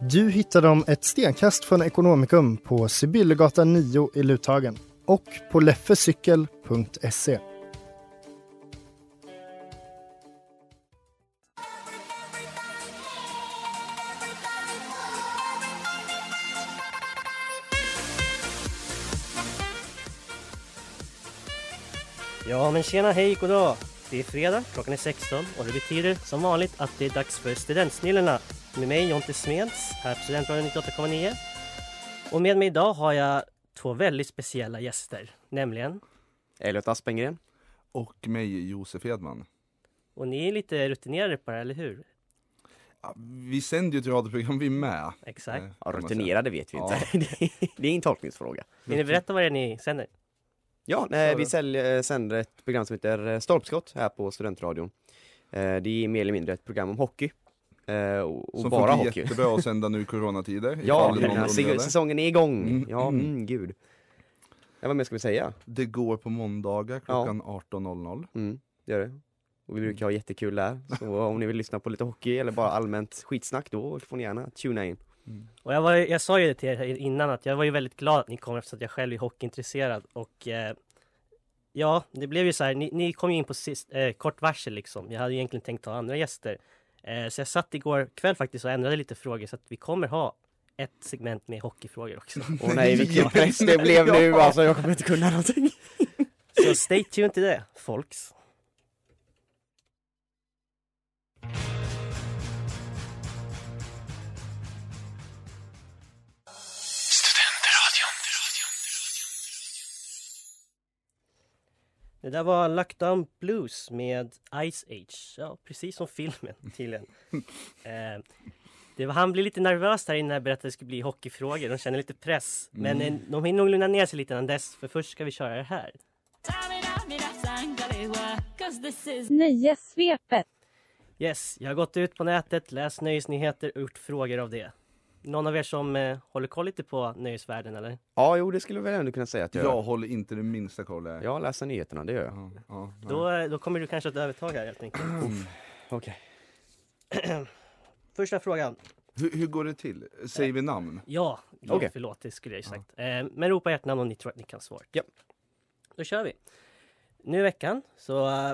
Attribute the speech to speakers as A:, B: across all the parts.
A: Du hittar dem ett stenkast från Ekonomikum på Sibyllegatan 9 i Luthagen och på leffecykel.se.
B: Ja men tjena, hej, goddag! Det är fredag, klockan är 16 och det betyder som vanligt att det är dags för Studentsnillena med mig Jonte Smeds här på Studentradion 98,9. Och med mig idag har jag två väldigt speciella gäster, nämligen,
C: Elliot Aspengren.
D: Och mig, Josef Edman.
B: och ni är lite rutinerade på det här, eller hur?
D: Ja, Vi sänder ju ett radioprogram vi med.
B: Exakt.
D: eh,
C: Ja,
D: kan man
C: rutinerade vet vi
D: Ja.
C: inte. Det är en tolkningsfråga.
B: Vill ni berätta vad det är ni sänder?
C: Ja, nej, vi säljer, eh, sänder ett program som heter eh, Stolpskott här på Studentradion. Eh, Det är mer eller mindre ett program om hockey. Eh, Och,
D: säga.
C: och
D: Som
C: bara
D: funkar
C: hockey.
D: jättebra att sända nu i coronatider.
C: Ja,
D: ifall någon
C: alltså, den här
D: undrar
C: sig-
D: det.
C: säsongen är igång.
D: Mm,
C: Ja,
D: mm.
C: mm, gud. Ja, vad mer ska vi säga?
D: Det går på måndagar klockan 18.00.
C: Mm, det gör det. Och vi brukar ha jättekul där. Så om ni vill lyssna på lite hockey eller bara allmänt skitsnack då får ni gärna tuna in.
B: Och jag, var, ju- jag sa ju det till er innan att jag var ju väldigt glad att ni kom eftersom att jag själv är hockeyintresserad och eh, ja, det blev ju så här, ni, ni kom ju in på sist, eh, kort varsel liksom. Jag hade ju egentligen tänkt ha andra gäster. Eh, så jag satt igår kväll faktiskt och ändrade lite frågor så att vi kommer ha ett segment med hockeyfrågor också.
C: Åh nej, vilken press det blev nu alltså. Jag kommer inte kunna någonting.
B: Så stay tuned till det, folks. Det där var Lockdown Blues med Ice Age. Ja, precis som filmen tydligen. eh, det var, han blev lite nervös här innan jag berättade att det skulle bli hockeyfrågor. De känner lite press. Men eh, de hinner nog lugna ner sig lite innan dess, för först ska vi köra det här.
E: Nöjessvepet.
B: Yes, jag har gått ut på nätet, läst nöjesnyheter och gjort frågor av det. Någon av er som eh, håller koll lite på nöjesvärlden eller?
C: Ja, jo det skulle vi väl ändå kunna säga att jag
D: Jag
C: gör.
D: håller inte det minsta koll. här.
C: Jag läser nyheterna, det gör jag.
D: Ja, ja, nej.
B: Då, eh, då kommer du kanske att övertag här helt enkelt.
C: Okej.
B: Första frågan.
D: hur, hur går det till? Säger vi namn?
B: Ja, ja
C: Okej.
B: förlåt, det skulle jag ju sagt. Eh, men ropa ert namn om ni tror att ni kan svaret.
C: Ja.
B: Då kör vi. Nu i veckan så eh,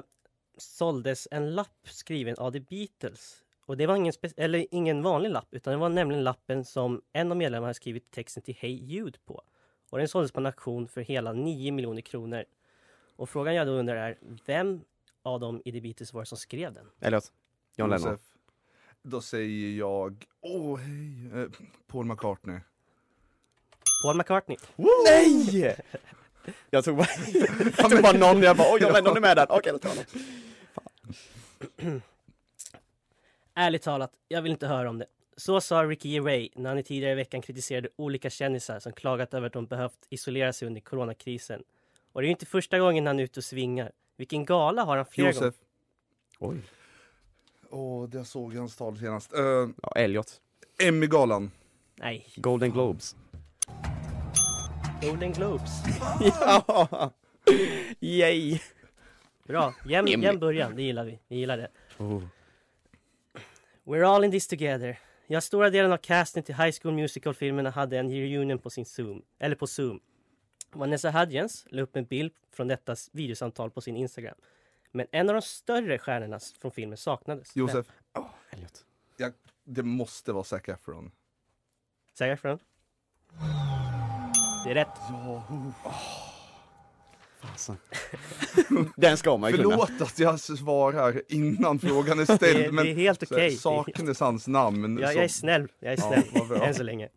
B: såldes en lapp skriven av The Beatles. Och det var ingen, spe- eller ingen vanlig lapp, utan det var nämligen lappen som en av medlemmarna hade skrivit texten till Hey Jude på. Och den såldes på en auktion för hela 9 miljoner kronor. Och frågan jag då undrar är, vem av dem i The Beatles var det som skrev den?
C: Elliot. John Lennon.
D: Josef. Då säger jag, åh hej, eh, Paul McCartney.
B: Paul McCartney.
C: Nej! Jag tog bara, jag tog bara någon, jag bara oj, jag vet någon är med där. Okej, då tar jag honom.
B: Ärligt talat, jag vill inte höra om det. Så sa Ricky Ray när han i tidigare i veckan kritiserade olika kändisar som klagat över att de behövt isolera sig under coronakrisen. Och det är ju inte första gången han är ute och svingar. Vilken gala har han flera gånger?
D: Josef.
C: Oj.
D: Åh, det jag såg i hans tal senast. Eh,
C: Ja, Elliot.
D: Emmy-galan.
B: Nej,
C: Golden Globes.
B: Golden Globes.
C: Ja! Yay!
B: Bra, jämn,
C: Emmy.
B: jämn början. Det gillar vi. Vi gillar det.
C: Oh.
B: We're all in this together. Ja, stora delen av casten till High School Musical-filmerna hade en reunion på sin Zoom, eller på Zoom. Vanessa Hudgens la upp en bild från detta s- videosamtal på sin Instagram. Men en av de större stjärnorna s- från filmen saknades.
D: Josef,
C: Elliot.
D: jag, det måste vara Zac Efron.
B: Zac Efron. Det är rätt.
D: Ja,
C: Fasen. Den ska man ju kunna.
D: förlåt att jag svarar innan frågan är ställd.
B: Det är- det är
D: men
B: helt
D: så här,
B: okej.
D: saknas hans namn.
B: Jag,
D: så-
B: jag är snäll. Jag är
D: Ja,
B: snäll.
D: vad bra.
B: Än så länge.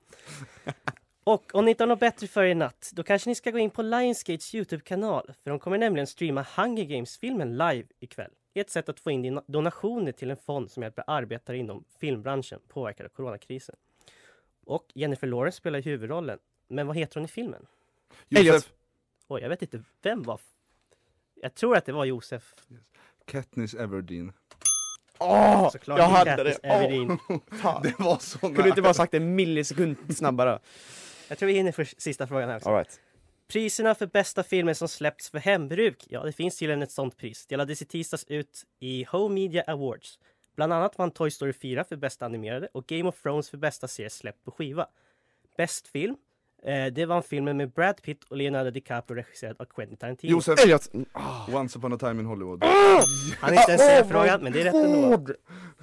B: Och om ni inte har något bättre för er i natt, då kanske ni ska gå in på Lionsgates Youtube-kanal. För de kommer nämligen streama Hunger Games-filmen live ikväll. Ett sätt att få in dina donationer till en fond som hjälper arbetare inom filmbranschen påverkade av coronakrisen. Och Jennifer Lawrence spelar huvudrollen. Men vad heter hon i filmen?
D: Josef
B: Oj, jag vet inte. Vem var... Jag tror att det var Josef.
D: Katniss Everdeen.
C: Åh,
B: Såklart.
C: jag hade det!
B: Katniss Everdeen.
C: Åh, fan.
D: Det var så
C: Kunde du
D: nära.
C: inte bara sagt en millisekund snabbare?
B: Jag tror vi hinner för sista frågan här också.
C: All right.
B: Priserna för bästa filmer som släppts för hembruk, ja det finns tydligen ett sånt pris, delades i tisdags ut i Home Media Awards. Bland annat vann Toy Story 4 för bästa animerade och Game of Thrones för bästa serie släppt på skiva. Bäst film, eh, det vann filmen med Brad Pitt och Leonardo DiCaprio regisserad av Quentin Tarantino.
D: Josef,
C: Elliot!
D: Once upon a time in Hollywood.
B: Han är inte ens
C: Ah,
B: säga
C: oh
B: frågan,
C: my
B: men det är rätt ändå.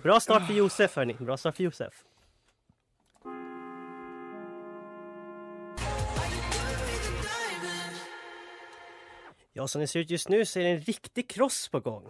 B: Bra start för Josef hörni, bra start för Josef. Ja, som det ser ut just nu så är det en riktig kross på gång.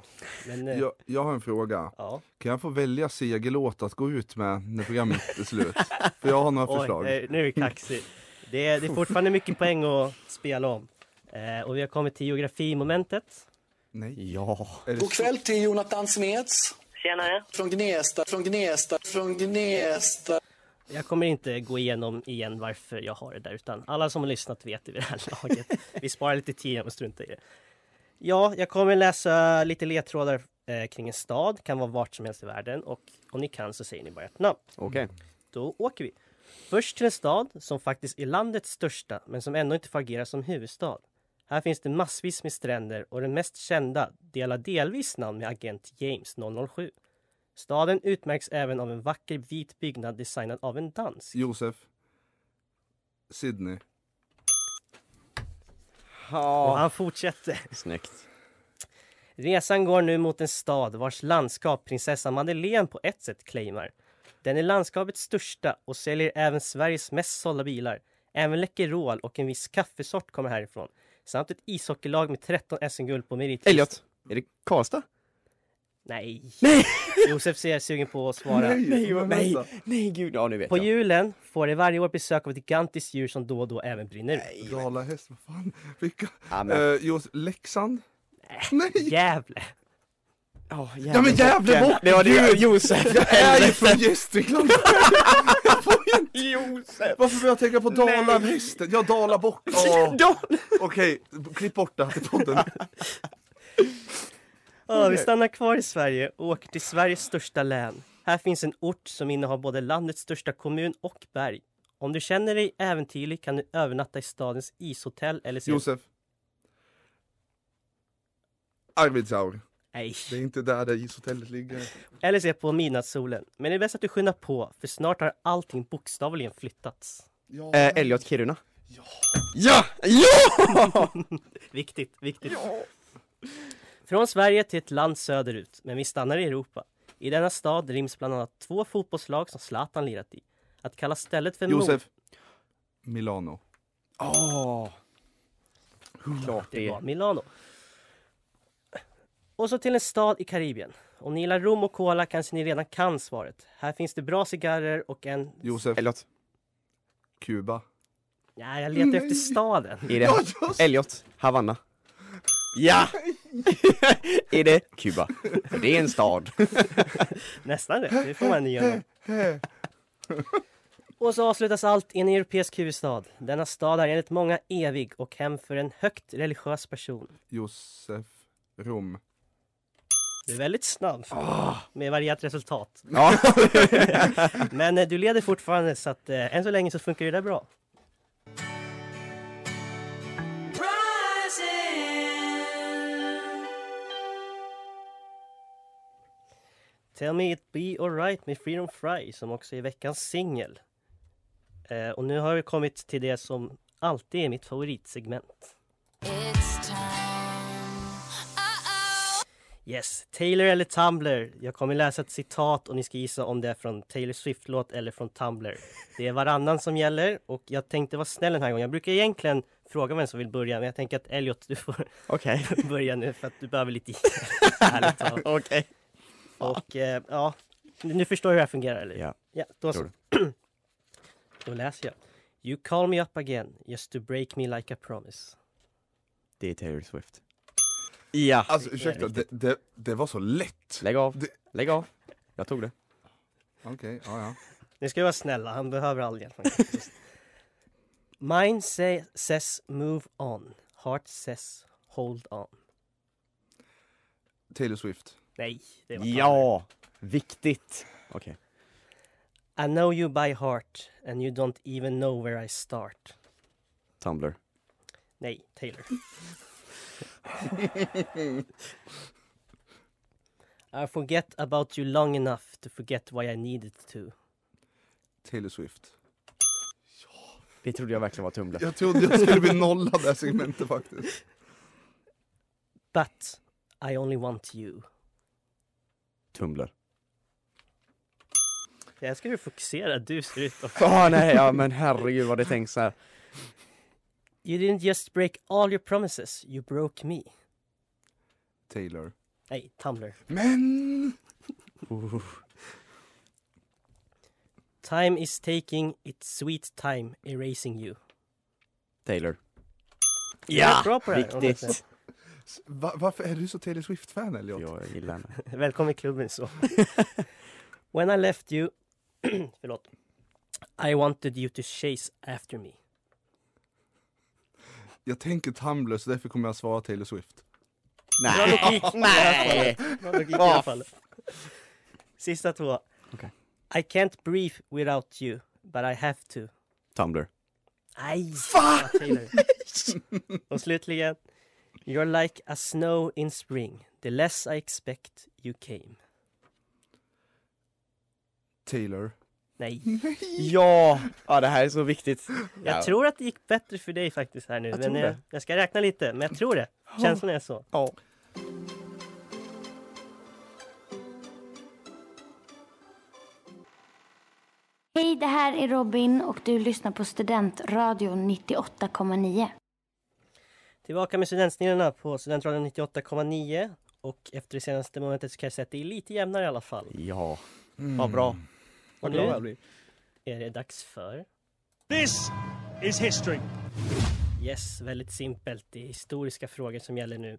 B: Men, eh,
D: Jag, jag har en fråga.
B: ja.
D: Kan jag få välja segerlåt att gå ut med när programmet är slut? För jag har några
B: Oj,
D: förslag.
B: eh, nu är det kaxigt. Det är, det är fortfarande mycket poäng att spela om. Eh, och vi har kommit till geografimomentet.
D: Nej.
C: Ja.
D: Är det
F: God kväll till Jonathan Smeds.
E: Tjenare.
F: Från Gnesta, från Gnesta, från Gnesta.
B: Jag kommer inte gå igenom igen varför jag har det där utan alla som har lyssnat vet det vid det här laget. Vi sparar lite tid genom att strunta i det. Ja, jag kommer läsa lite ledtrådar eh, kring en stad, kan vara vart som helst i världen och om ni kan så säger ni bara ett namn.
C: Okej.
B: Då åker vi. Först till en stad som faktiskt är landets största men som ändå inte får agera som huvudstad. Här finns det massvis med stränder och den mest kända delar delvis namn med agent James 007. Staden utmärks även av en vacker vit byggnad designad av en dansk.
D: Josef. Sydney.
B: Och
C: Ja.
B: han fortsätter.
C: Snyggt.
B: Resan går nu mot en stad vars landskap prinsessa Madeleine på ett sätt claimar. Den är landskapets största och säljer även Sveriges mest sålda bilar. Även Läkerol och en viss kaffesort kommer härifrån. Samt ett ishockeylag med 13 SM-guld på meritlistan.
C: Elliot, är det Karlstad?
B: Nej! Josef ser sugen på att svara.
D: Nej, men vänta.
C: Nej gud, ja nu vet
B: På
C: jag.
B: julen får det varje år besök av ett gigantiskt djur som då och då även brinner ut.
D: Dalahäst, vad fan? Vilka?
C: Ja men,
D: Eh, Josef, Leksand? Nej!
B: Gävle!
C: oh,
D: Ja men jävla bort!
C: Det var det, Josef!
D: Jag är ju från Gästrikland! Jag får ju inte-
C: Josef!
D: Varför börjar jag tänka på Dalahästen? Ja, Dalabock! Åh, Okej, klipp bort det här till podden.
B: Ja, vi stannar kvar i Sverige och åker till Sveriges största län. Här finns en ort som innehar både landets största kommun och berg. Om du känner dig äventyrlig kan du övernatta i stadens ishotell eller se...
D: Josef. Arvidsjaur.
B: Nej.
D: Det är inte där det ishotellet ligger.
B: Eller se på midnattssolen. Men det är bäst att du skyndar på, för snart har allting bokstavligen flyttats.
D: Ja.
C: Eh, Elliot Kiruna. Ja! Ja!
B: Viktigt, viktigt. Från Sverige till ett land söderut, men vi stannar i Europa. I denna stad ryms bland annat två fotbollslag som Zlatan lirat i. Att kalla stället för Mo-
D: Josef. Milano.
C: Åh! Klart
B: Det var
C: det.
B: Milano. Och så till en stad i Karibien. Om ni gillar rom och cola kanske ni redan kan svaret. Här finns det bra cigarrer och en...
D: Josef.
C: Elliot.
D: Kuba.
B: Nej, jag letar efter staden.
C: Är det Elliot Havanna? Ja! är det Kuba? För det är en stad.
B: Nästan rätt, det får man igenom. Och så avslutas allt i en europeisk huvudstad. Denna stad är enligt många evig och hem för en högt religiös person.
D: Josef. Rom.
B: Du är väldigt snabb med varierat resultat.
C: Ja.
B: Men eh, du leder fortfarande så att eh, än så länge så funkar det där bra. Tell me it be alright med Freedom Fry som också är veckans singel. Eh, och nu har vi kommit till det som alltid är mitt favoritsegment. Yes, Taylor eller Tumblr. Jag kommer läsa ett citat och ni ska gissa om det är från Taylor Swift-låt eller från Tumblr. Det är varannan som gäller och jag tänkte vara snäll den här gången. Jag brukar egentligen fråga vem som vill börja, men jag tänker att Elliot, du får
C: Okej.
B: börja nu för att du behöver lite ärligt talat.
C: Okej.
B: Och eh, ja, nu förstår jag hur det här fungerar eller?
C: Ja.
B: Ja, då så.
C: Tror
B: då läser jag. You call me up again just to break me like a promise.
C: Det är Taylor Swift. Ja.
D: Alltså ursäkta, det, det, det var så lätt.
C: Lägg av.
D: Det-
C: Lägg av. Jag tog det.
D: Okej, ja ja.
B: Nu ska vi vara snälla, han behöver all hjälp. han kan få. Mine say, says move on. Heart says hold on.
D: Taylor Swift.
B: Nej, det var Tumblr.
C: Ja! Viktigt. Okej.
B: I know you by heart and you don't even know where I start.
C: Tumblr.
B: Nej, Taylor. I forget about you long enough to forget why I needed to.
D: Taylor Swift.
C: Det trodde jag verkligen var Tumblr.
D: Jag trodde jag skulle bli nollad det här segmentet faktiskt.
B: But I only want you.
C: Tumblr.
B: Det här ska du fokusera, du ser ut att...
C: Ah, nej, ja, men herregud vad det tänks så här.
B: You didn't just break all your promises, you broke me.
D: Taylor.
B: Nej, Tumblr.
D: Men!
B: Time is taking its sweet time erasing you.
C: Taylor.
B: Jag är bra på det här, om jag
C: Viktigt.
D: S- Va, varför är du så Taylor Swift-fan Elliot?
C: Jag gillar henne.
B: Välkommen i klubben så. When I left you, förlåt. I wanted you to chase after me.
D: Jag tänker Tumblr så därför kommer jag svara Taylor Swift.
B: Bra logik! Nej! Bra logik i alla fall. Sista två.
C: Okej.
B: I can't breathe without you, but I have to.
C: Tumblr.
B: Nej! Fan! Och slutligen. You're like a snow in spring. The less I expect you came.
D: Taylor.
B: Nej.
C: Ja! Ja, det här är så viktigt.
B: Jag
C: Ja.
B: tror att det gick bättre för dig faktiskt här nu.
C: Jag
B: men
C: tror
B: jag,
C: det.
B: jag ska räkna lite, men jag tror det. Känslan är så.
C: Ja.
E: Hej, det här är Robin och du lyssnar på Studentradion 98,9.
B: Tillbaka med studentsnillena på Studentradion 98,9. Och efter det senaste momentet så kan jag säga att det är lite jämnare i alla fall.
C: Ja.
D: Mm.
C: Vad bra.
B: Och nu är det dags för...
G: This is history.
B: Yes, väldigt simpelt. Det är historiska frågor som gäller nu.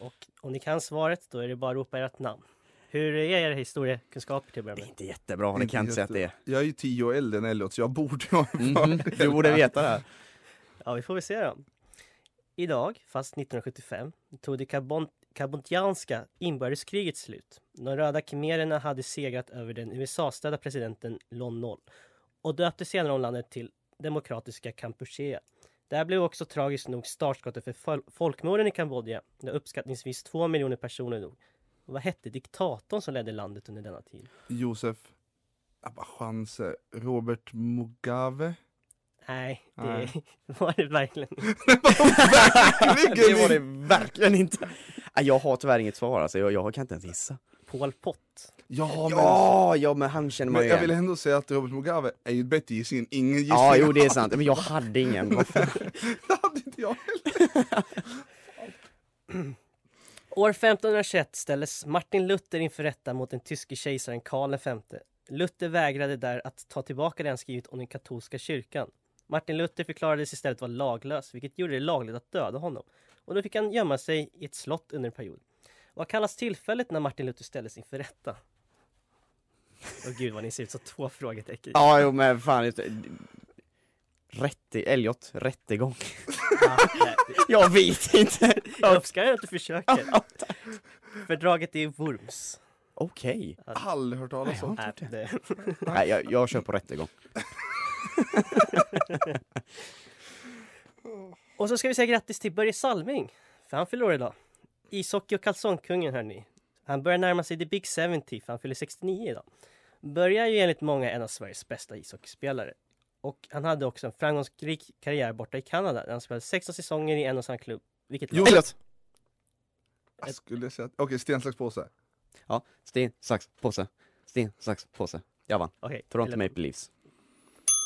B: Och om ni kan svaret, då är det bara att ropa ert namn. Hur är era historiekunskaper till att börja
C: Det är
B: med?
C: inte jättebra, det
D: Inte
C: kan jag inte säga att det är. Mhm.
D: jätte- Jag är ju tio år äldre än Elliot så jag borde ha en fördel.
C: Du borde veta det här.
B: Ja, vi får väl se då. Idag, fast 1975, tog det kabon- kambodjanska inbördeskriget slut. De röda khmererna hade segrat över den USA-stödda presidenten Lon Nol och döpte senare om landet till Demokratiska Kampuchea. Det här blev också tragiskt nog startskottet för fol- folkmorden i Kambodja där uppskattningsvis två miljoner personer dog. Och vad hette diktatorn som ledde landet under denna tid?
D: Josef. Jag bara chanser. Robert Mugabe.
B: Nej, det
D: Nej.
B: var det verkligen inte.
C: det var det verkligen inte. Nej, Jag har tyvärr inget svar alltså, jag, jag kan inte ens gissa.
B: Paul Pot.
D: Ja, men,
C: Ja, ja men han känner man
D: men
C: ju
D: jag vill
C: igen.
D: ändå säga att Robert Mugabe är ju ett bättre gissning än ingen gissning.
C: Ja, jo det är sant. Men jag hade ingen. Vad fan.
D: Det hade inte jag heller.
B: År 1521 ställdes Martin Luther inför rätta mot den tyske kejsaren Karl V. Luther vägrade där att ta tillbaka det han skrivit om den katolska kyrkan. Martin Luther förklarades istället vara laglös, vilket gjorde det lagligt att döda honom. Och då fick han gömma sig i ett slott under en period. Vad kallas tillfället när Martin Luther ställdes inför rätta? Åh gud vad ni ser ut som två frågetecken.
C: Ja, jo men fan. just det. Rätte, Elliot, rättegång.
B: Ja, nej.
C: Jag vet inte.
B: Jag uppskattar att du försöker. Fördraget är Worms. eh,
C: Okej.
D: Aldrig hört talas om.
B: Nej, det-
C: Nej, jag, jag kör på rättegång.
B: Och så ska vi säga grattis till Börje Salming, för han fyller år idag. Ishockey och kalsongkungen hörni. Han börjar närma sig the big 70, för han fyller 69 idag. Börje är ju enligt många en av Sveriges bästa ishockeyspelare. Och han hade också en framgångsrik karriär borta i Kanada, där han spelade 16 säsonger i en och samma klubb. Vilket lag?
C: Elliot.
D: Jag skulle säga... Okej, sten, sax, påse.
C: Ja, sten, sax, påse. Sten, sax, påse. Jag vann.
B: Okej,
C: Toronto
B: eller-
C: Maple Leafs.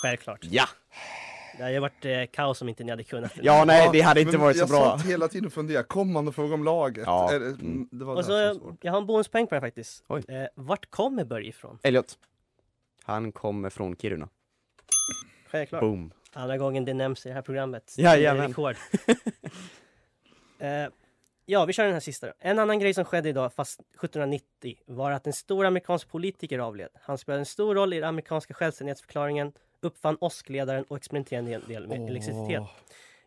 B: Självklart.
C: Ja!
B: Det hade varit eh, kaos om inte ni hade kunnat.
C: Ja, nej, det hade inte
D: men
C: varit så bra.
D: Jag satt hela tiden och funderade, kom han och frågade om laget?
C: Ja,
D: Är det,
C: mm.
D: det var
B: Och så,
D: det här
B: eh,
D: som var svårt.
B: jag har en bonuspoäng på det här faktiskt.
C: Oj.
B: Eh, vart kommer Börje ifrån?
C: Elliot. Han kommer från Kiruna.
B: Självklart.
C: Boom.
B: Andra gången det nämns i det här programmet.
C: Jajamän.
B: Det är rekord. eh, ja, vi kör den här sista då. En annan grej som skedde idag, fast 1790, var att en stor amerikansk politiker avled. Han spelade en stor roll i den amerikanska självständighetsförklaringen, uppfann åskledaren och experimenterade en del med elektricitet.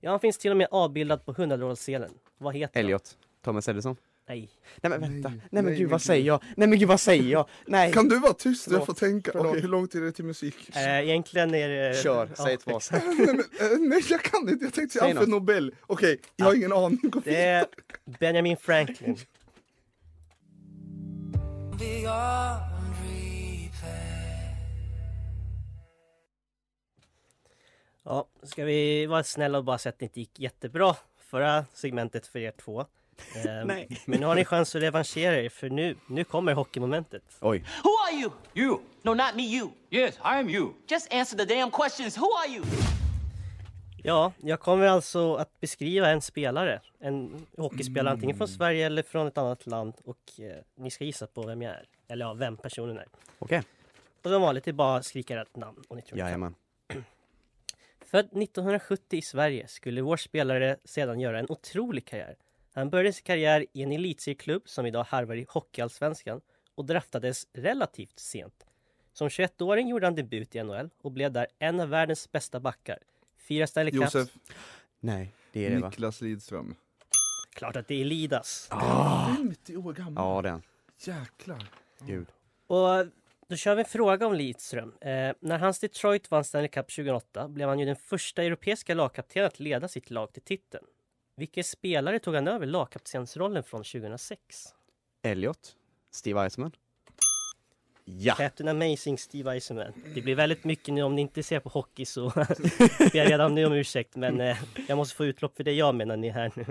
B: Ja, han finns till och med avbildad på 100-dollarssedeln. Vad heter han?
C: Elliot. Thomas Edison.
B: Nej.
C: Nej men vänta, nej, men
D: nej,
C: gud
D: men
C: vad
D: gud.
C: säger jag? Nej men gud vad säger jag? Nej!
D: Kan du vara tyst? Jag
C: Förlåt,
D: får tänka. Okej,
C: förlåt.
D: hur lång tid är det till musik?
B: Eh, egentligen är det...
C: Kör,
B: ja,
C: säg ett val.
B: exakt.
D: nej, men, eh, nej, jag kan inte. Jag tänkte säga
C: Säg
D: Alfred
C: något.
D: Nobel. Okej, jag har ingen aning. Gå
B: Det är Benjamin Franklin. Ja, ska vi vara snälla och bara säga att det inte gick jättebra förra segmentet för er två. Ehm,
C: Nej.
B: Men nu har ni chans att revanschera er för nu, nu kommer hockeymomentet.
C: Oj,
H: Who are you? You. No, not me, you. Yes, I am you. Just answer the damn questions. Who are you?
B: Ja, jag kommer alltså att beskriva en spelare, en hockeyspelare antingen från Sverige eller från ett annat land och eh, ni ska gissa på vem jag är, eller ja, vem personen är.
C: okej.
B: Och som vanligt, det är bara att skrika rätt namn om ni tror det.
C: Jajamän.
B: Född 1970 i Sverige skulle vår spelare sedan göra en otrolig karriär. Han började sin karriär i en elitserieklubb som idag harvar i Hockeyallsvenskan och draftades relativt sent. Som 21-åring gjorde han debut i NHL och blev där en av världens bästa backar. Fyra Stanley Cups.
D: Josef
C: Nej, det är det va?
D: Niklas Lidström.
B: Klart att det är Lidas.
C: Ah,
D: 50 år gammal.
C: ja den.
D: Jäklar.
C: Gud.
B: Och då kör vi en fråga om Lidström. Eh, när hans Detroit vann Stanley Cup 2008 blev han ju den första europeiska lagkaptenen att leda sitt lag till titeln. Vilken spelare tog han över lagkaptensrollen från 2006?
C: Elliot. Steve Eisman. Ja!
B: Captain Amazing Steve Eisenman. Det blir väldigt mycket nu om ni inte ser på hockey så ber jag redan nu om ursäkt men eh, jag måste få utlopp för det jag menar ni är här nu.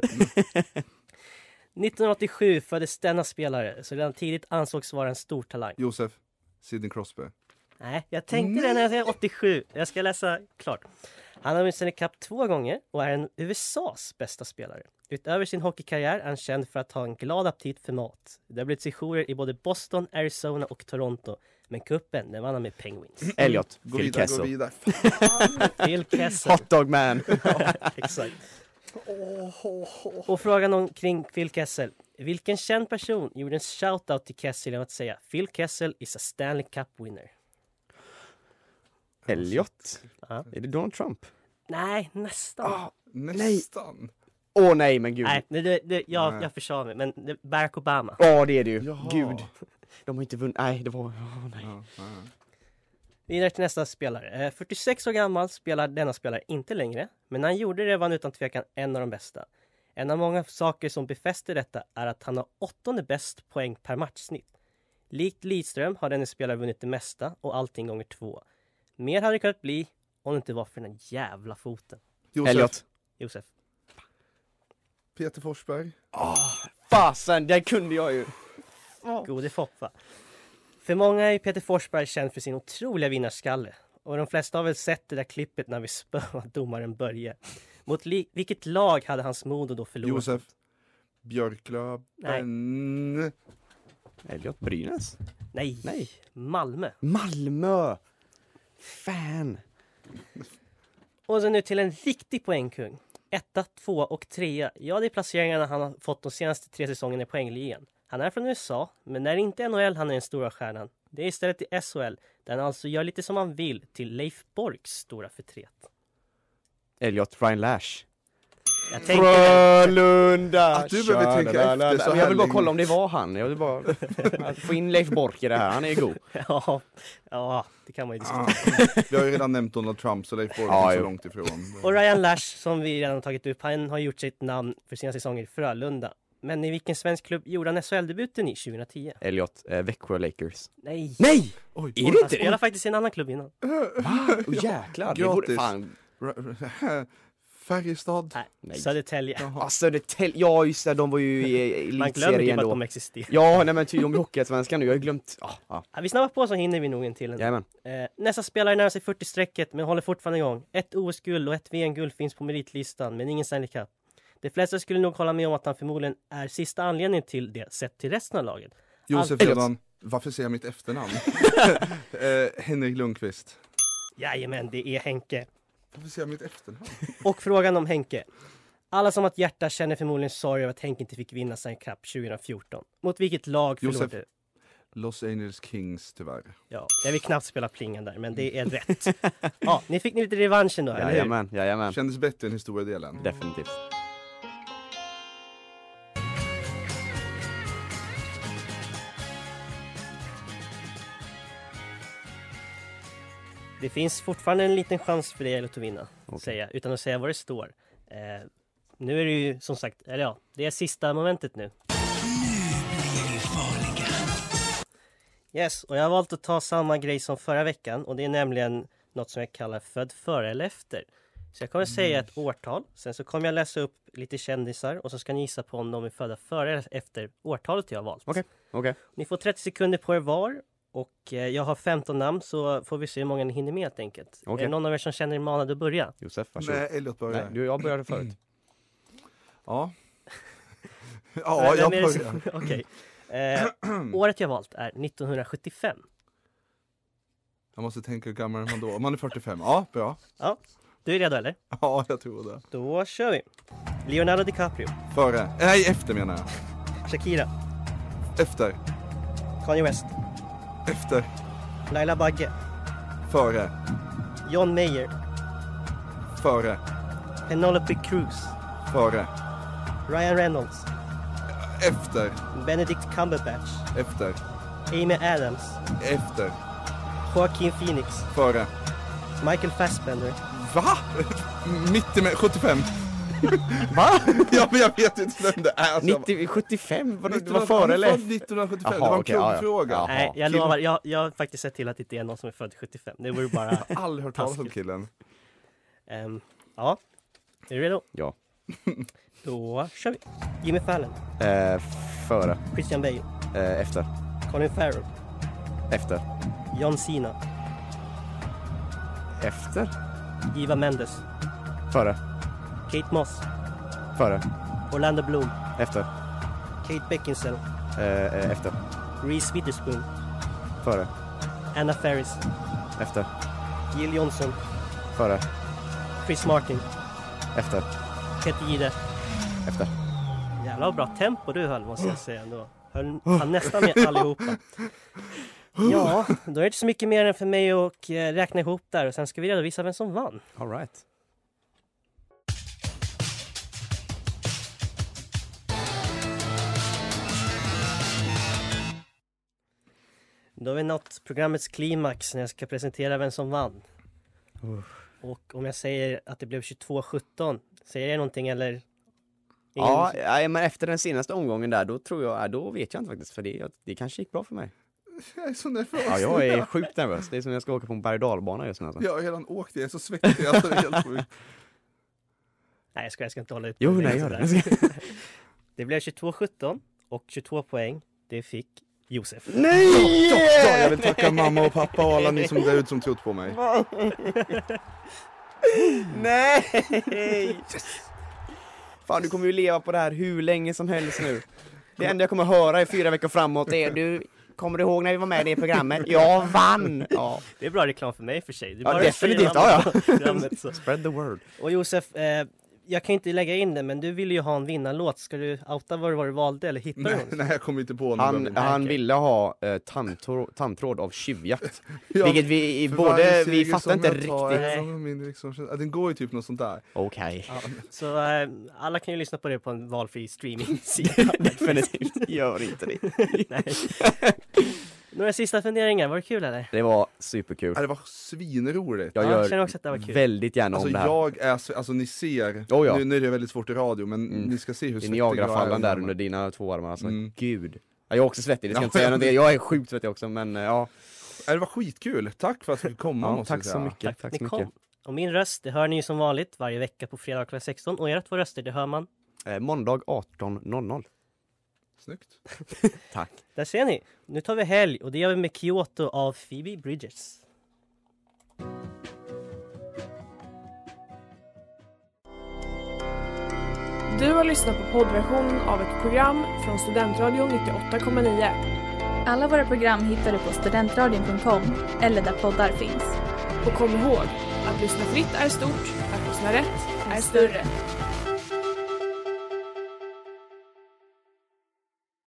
B: 1987 föddes denna spelare så redan tidigt ansågs vara en stor talang.
D: Josef Sidney Crosby.
B: Nej, jag tänkte det när jag skrev 87. Jag ska läsa klart. Han har vunnit Stanley Cup två gånger och är en USAs bästa spelare. Utöver sin hockeykarriär är han känd för att ha en glad aptit för mat. Det har blivit sessioner i både Boston, Arizona och Toronto. Men cupen, den vann han med Penguins.
C: Elliot.
D: Mm, Gå
C: Phil
D: vidare, gå
C: Kessel.
D: vidare.
B: Phil Kessel.
C: Hot dog man!
B: Exakt. Och frågan om, kring Phil Kessel. Vilken känd person gjorde en shout-out till Kessel genom att säga Phil Kessel is a Stanley Cup winner?
C: Elliot.
B: Ja.
C: Är det Donald Trump?
B: Nej, nästan.
D: Nästan.
C: Åh nej men gud!
B: Nej, det, det, det, jag,
D: Nej.
B: jag försade mig. Men det, Barack Obama.
C: Ja det är det ju!
D: Jaha.
C: Gud! De har inte vunnit, nej det var, åh nej.
D: Ja, ja.
B: Vidare till nästa spelare. Eh, 46 år gammal spelar denna spelare inte längre, men när han gjorde det var han utan tvekan en av de bästa. En av många saker som befäster detta är att han har åttonde bäst poäng per matchsnitt. Likt Lidström har denne spelare vunnit det mesta och allting gånger två. Mer hade det kunnat bli om det inte var för den här jävla foten.
D: Josef
C: Elliot.
B: Josef.
D: Peter Forsberg.
C: Fasen, där kunde jag ju!
B: Gode Foppa. För många är ju Peter Forsberg känd för sin otroliga vinnarskalle. Och de flesta har väl sett det där klippet när vi spöade domaren Börje. Mot li- vilket lag hade hans Modo då förlorat?
D: Josef Björklöven.
C: Elliot Brynäs.
B: Nej,
C: Nej.
B: Malmö.
C: Malmö! Fan!
B: Och så nu till en riktig poängkung. Etta, tvåa och trea. Ja, det är placeringarna han har fått de senaste tre säsongerna i poängligan. Han är från USA, men det är inte NHL han är den stora stjärnan. Det är istället i SHL, där han alltså gör lite som han vill till Leif Borks stora förtret.
C: Elliot Ryan Lash.
B: Jag tänkte väl-
C: Frölunda!
D: Att du behöver
C: Tja,
D: tänka
C: la, la, la.
D: efter så
C: Men Jag vill
D: här
C: bara
D: länge.
C: kolla om det var han. Jag vill bara få in Leif Bork i det här. Han är ju god.
B: Ja, ja, det kan man ju diskutera.
D: Vi har ju redan nämnt Donald Trump så Leif Borg
C: Ja,
D: är inte så
C: jo.
D: långt ifrån.
B: Och Ryan Lash, som vi redan har tagit upp, han har gjort sitt namn för sina säsonger i Frölunda. Men i vilken svensk klubb gjorde han SHL-debuten i 2010?
C: Elliot, eh, Växjö Lakers.
B: Nej!
C: Nej!
D: Oj,
C: Är det
B: Han
C: inte det?
B: spelade faktiskt i en annan klubb innan.
C: Åh jäklar! Det
D: Gratis.
C: borde, fan.
D: Ra- ra- Färjestad?
B: Nej. Södertälje.
C: Ja, Södertälje, ja just Alltså, det, de var ju i- i
B: Man glömmer typ
C: elitserien
B: att
C: då.
B: de existerar.
C: Ja, nej men ty, de är hockeyallsvenskan nu, jag har ju glömt. Ja, ja.
B: Ja, vi snabbar på så hinner vi nog en till. ändå.
C: Jajamän.
B: Eh, nästa spelare närmar sig 40-strecket men håller fortfarande igång. Ett OS-guld och ett VM-guld finns på meritlistan men ingen Stanley Cup. De flesta skulle nog hålla med om att han förmodligen är sista anledningen till det sett till resten av laget.
D: Josef
B: Allt-
D: Redan, varför säger jag mitt efternamn? eh, Henrik Lundqvist.
B: Jajamän, det är Henke.
D: Varför säger jag mitt efternamn?
B: Och frågan om Henke. Alla som har ett hjärta känner förmodligen sorg över att Henke inte fick vinna Stanley Cup 2014. Mot vilket lag förlorade
D: Josef. Los Angeles Kings tyvärr.
B: Ja, jag vill knappt spela plingan där, men det är rätt. Ja, ni fick ni lite revanschen då, eller hur?
C: Jajamän, jajamän.
D: Kändes bättre än historiedelen.
C: Definitivt.
B: Det finns fortfarande en liten chans för dig att vinna, säga, utan att säga vad det står. Eh, nu är det ju som sagt, eller ja, det är sista momentet nu. Yes, och jag har valt att ta samma grej som förra veckan och det är nämligen något som jag kallar född före eller efter. Så jag kommer att säga ett årtal, sen så kommer jag läsa upp lite kändisar och så ska ni gissa på om de är födda före eller efter årtalet jag har valt.
C: Okej, okej.
B: Ni får 30 sekunder på er var och eh, jag har 15 namn så får vi se hur många ni hinner med helt enkelt.
C: Okej.
B: Är det någon av er som känner er manad att börja?
C: Josef, varsågod.
D: Nej, Elliot börjar. Mm.
C: Nej, du, jag började förut.
D: Ja.
B: Vem
D: ja,
B: är
D: jag
B: det som-
D: börjar.
B: Okej. Eh, året jag valt är 1975.
D: Jag måste tänka hur gammal är man då? Om man är 45, ja bra.
B: Ja, du är redo eller?
D: Ja, jag tror det.
B: Då kör vi! Leonardo DiCaprio,
D: Före, nej efter menar jag.
B: Shakira,
D: Efter,
B: Kanye West,
D: efter,
B: Laila Bagge,
D: före,
B: John Mayer,
D: före,
B: Penelope Cruz,
D: före,
B: Ryan Reynolds,
D: efter,
B: Benedict Cumberbatch,
D: efter,
B: Amy Adams,
D: efter,
B: Joaquin Phoenix,
D: före.
B: Michael Fassbender,
D: Va? Mitt i mig, 75. Va? ja men jag vet inte vem det är. Alltså,
C: 90, 75? Var, det
D: 1900
C: var före eller
D: han är
C: efter?
D: född 1975,
C: Jaha,
D: det var en
C: okej, ja, ja.
D: kuggfråga.
C: Ja.
B: Nej, jag
D: killen-
B: lovar. Jag, jag har faktiskt sett till att det inte är någon som är född 75. Det vore bara...
D: Jag har aldrig hört talas om
B: Taskigt.
D: killen.
B: ehm, ja. Är du redo?
C: Ja.
B: Då kör vi. Jimmy Fallon,
C: Eh, före.
B: Christian Bale,
C: Eh, efter.
B: Colin Farrell,
C: Efter.
B: John Cena,
C: Efter?
B: Eva Mendes,
C: Före.
B: Kate Moss,
C: Före.
B: Orlando Bloom,
C: Efter.
B: Kate Beckinsale,
C: Eh, eh, efter.
B: Reese Witherspoon,
C: Före.
B: Anna Faris,
C: Efter.
B: Jill Johnson,
C: Före.
B: Chris Martin,
C: Efter.
B: Peter Jihde.
C: Efter.
B: Jävlar vad bra tempo du höll måste jag säga ändå. Höll han nästan med allihopa. Ja, då är det inte så mycket mer än för mig att eh, räkna ihop där och sen ska vi redovisa vem som vann.
C: All right.
B: Då har vi nått programmets klimax när jag ska presentera vem som vann.
C: Uh.
B: Och om jag säger att det blev 22-17, säger det någonting eller? Ingen-
C: Ja, nej, men efter den senaste omgången där, då tror jag, eh, då vet jag inte faktiskt för det, det kanske gick bra för mig.
D: Jag är så nervös.
C: Ja, jag är sjukt nervös. Det är som när jag ska åka på en berg och dalbana just nu alltså.
D: Jag har redan åkt, jag är så svettig alltså, det är helt sjukt.
B: Nej jag ska, jag ska inte hålla ut.
C: Jo,
B: med
C: nej,
B: dig
C: gör det.
B: sådär. Det blev 22-17 och 22 poäng, det fick Josef.
C: Nej!
D: Ja, jag vill tacka mamma och pappa och alla ni som där ute som trott på mig.
C: Nej! Fan, du kommer ju leva på det här hur länge som helst nu. Det enda jag kommer höra i fyra veckor framåt är du Kommer du ihåg när vi var med i det programmet? Jag vann! Ja,
B: Det är bra reklam för mig i och för sig. Det är
C: ja
B: bara att säga
C: definitivt.
B: namnet
C: Ja,
B: på programmet, så.
C: ja. Spread the word.
B: Och Josef, eh, jag kan ju inte lägga in det men du ville ju ha en vinnarlåt. Ska du outa vad det var du valde eller hitta
D: Nej,
B: någon?
D: nej, jag kommer inte på någon.
C: Han, han
B: okej.
C: ville ha eh, tandtråd, tandtråd av tjuvjakt.
D: Ja,
C: vilket vi i
D: för
C: både,
D: varje seger
C: vi fattar
D: som
C: inte
D: jag tar är
C: riktigt.
D: det som en mindre liksom, känsla. Ja, Den går ju typ något sånt där.
C: Okej.
B: Så eh, alla kan ju lyssna på det på en valfri streaming-sida.
C: Definitivt, gör inte det.
B: Nej. Några sista funderingar, var det kul eller?
C: Det var superkul.
D: Ja, det var svinroligt.
C: Jag
B: Ja, jag känner
C: gör
B: också att det var kul.
C: väldigt gärna om
D: Alltså
C: det här.
D: jag är, sve- alltså ni ser,
C: Oh, ja.
D: nu, nu är det väldigt svårt i radio men
C: Mm.
D: ni ska se hur
C: Det är
D: svettig jag är.
C: Niagarafallen där
D: under
C: under dina två armar, alltså
D: Mm.
C: gud. Ja, jag är också svettig, det ska jag inte
D: Ja.
C: säga någonting. Jag är sjukt svettig också men eh, ja.
D: armarna. Ja, Det var skitkul, tack för att du fick komma
C: ja
D: måste
C: tack
D: jag
C: så
D: säga.
C: mycket, tack så
B: ni
C: mycket.
B: kom. Och min röst, det hör ni ju som vanligt varje vecka på fredag klockan 16. Och ert två röster, det hör man.
C: Eh, måndag 18.00.
D: Snyggt.
C: Tack.
B: Där ser ni. Nu tar vi helg och det gör vi med Kyoto av Phoebe Bridges.
I: Du har lyssnat på poddversion av ett program från Studentradion 98,9.
J: Alla våra program hittar du på studentradion.com eller där poddar finns.
I: Och kom ihåg, att lyssna fritt är stort, att lyssna rätt är större.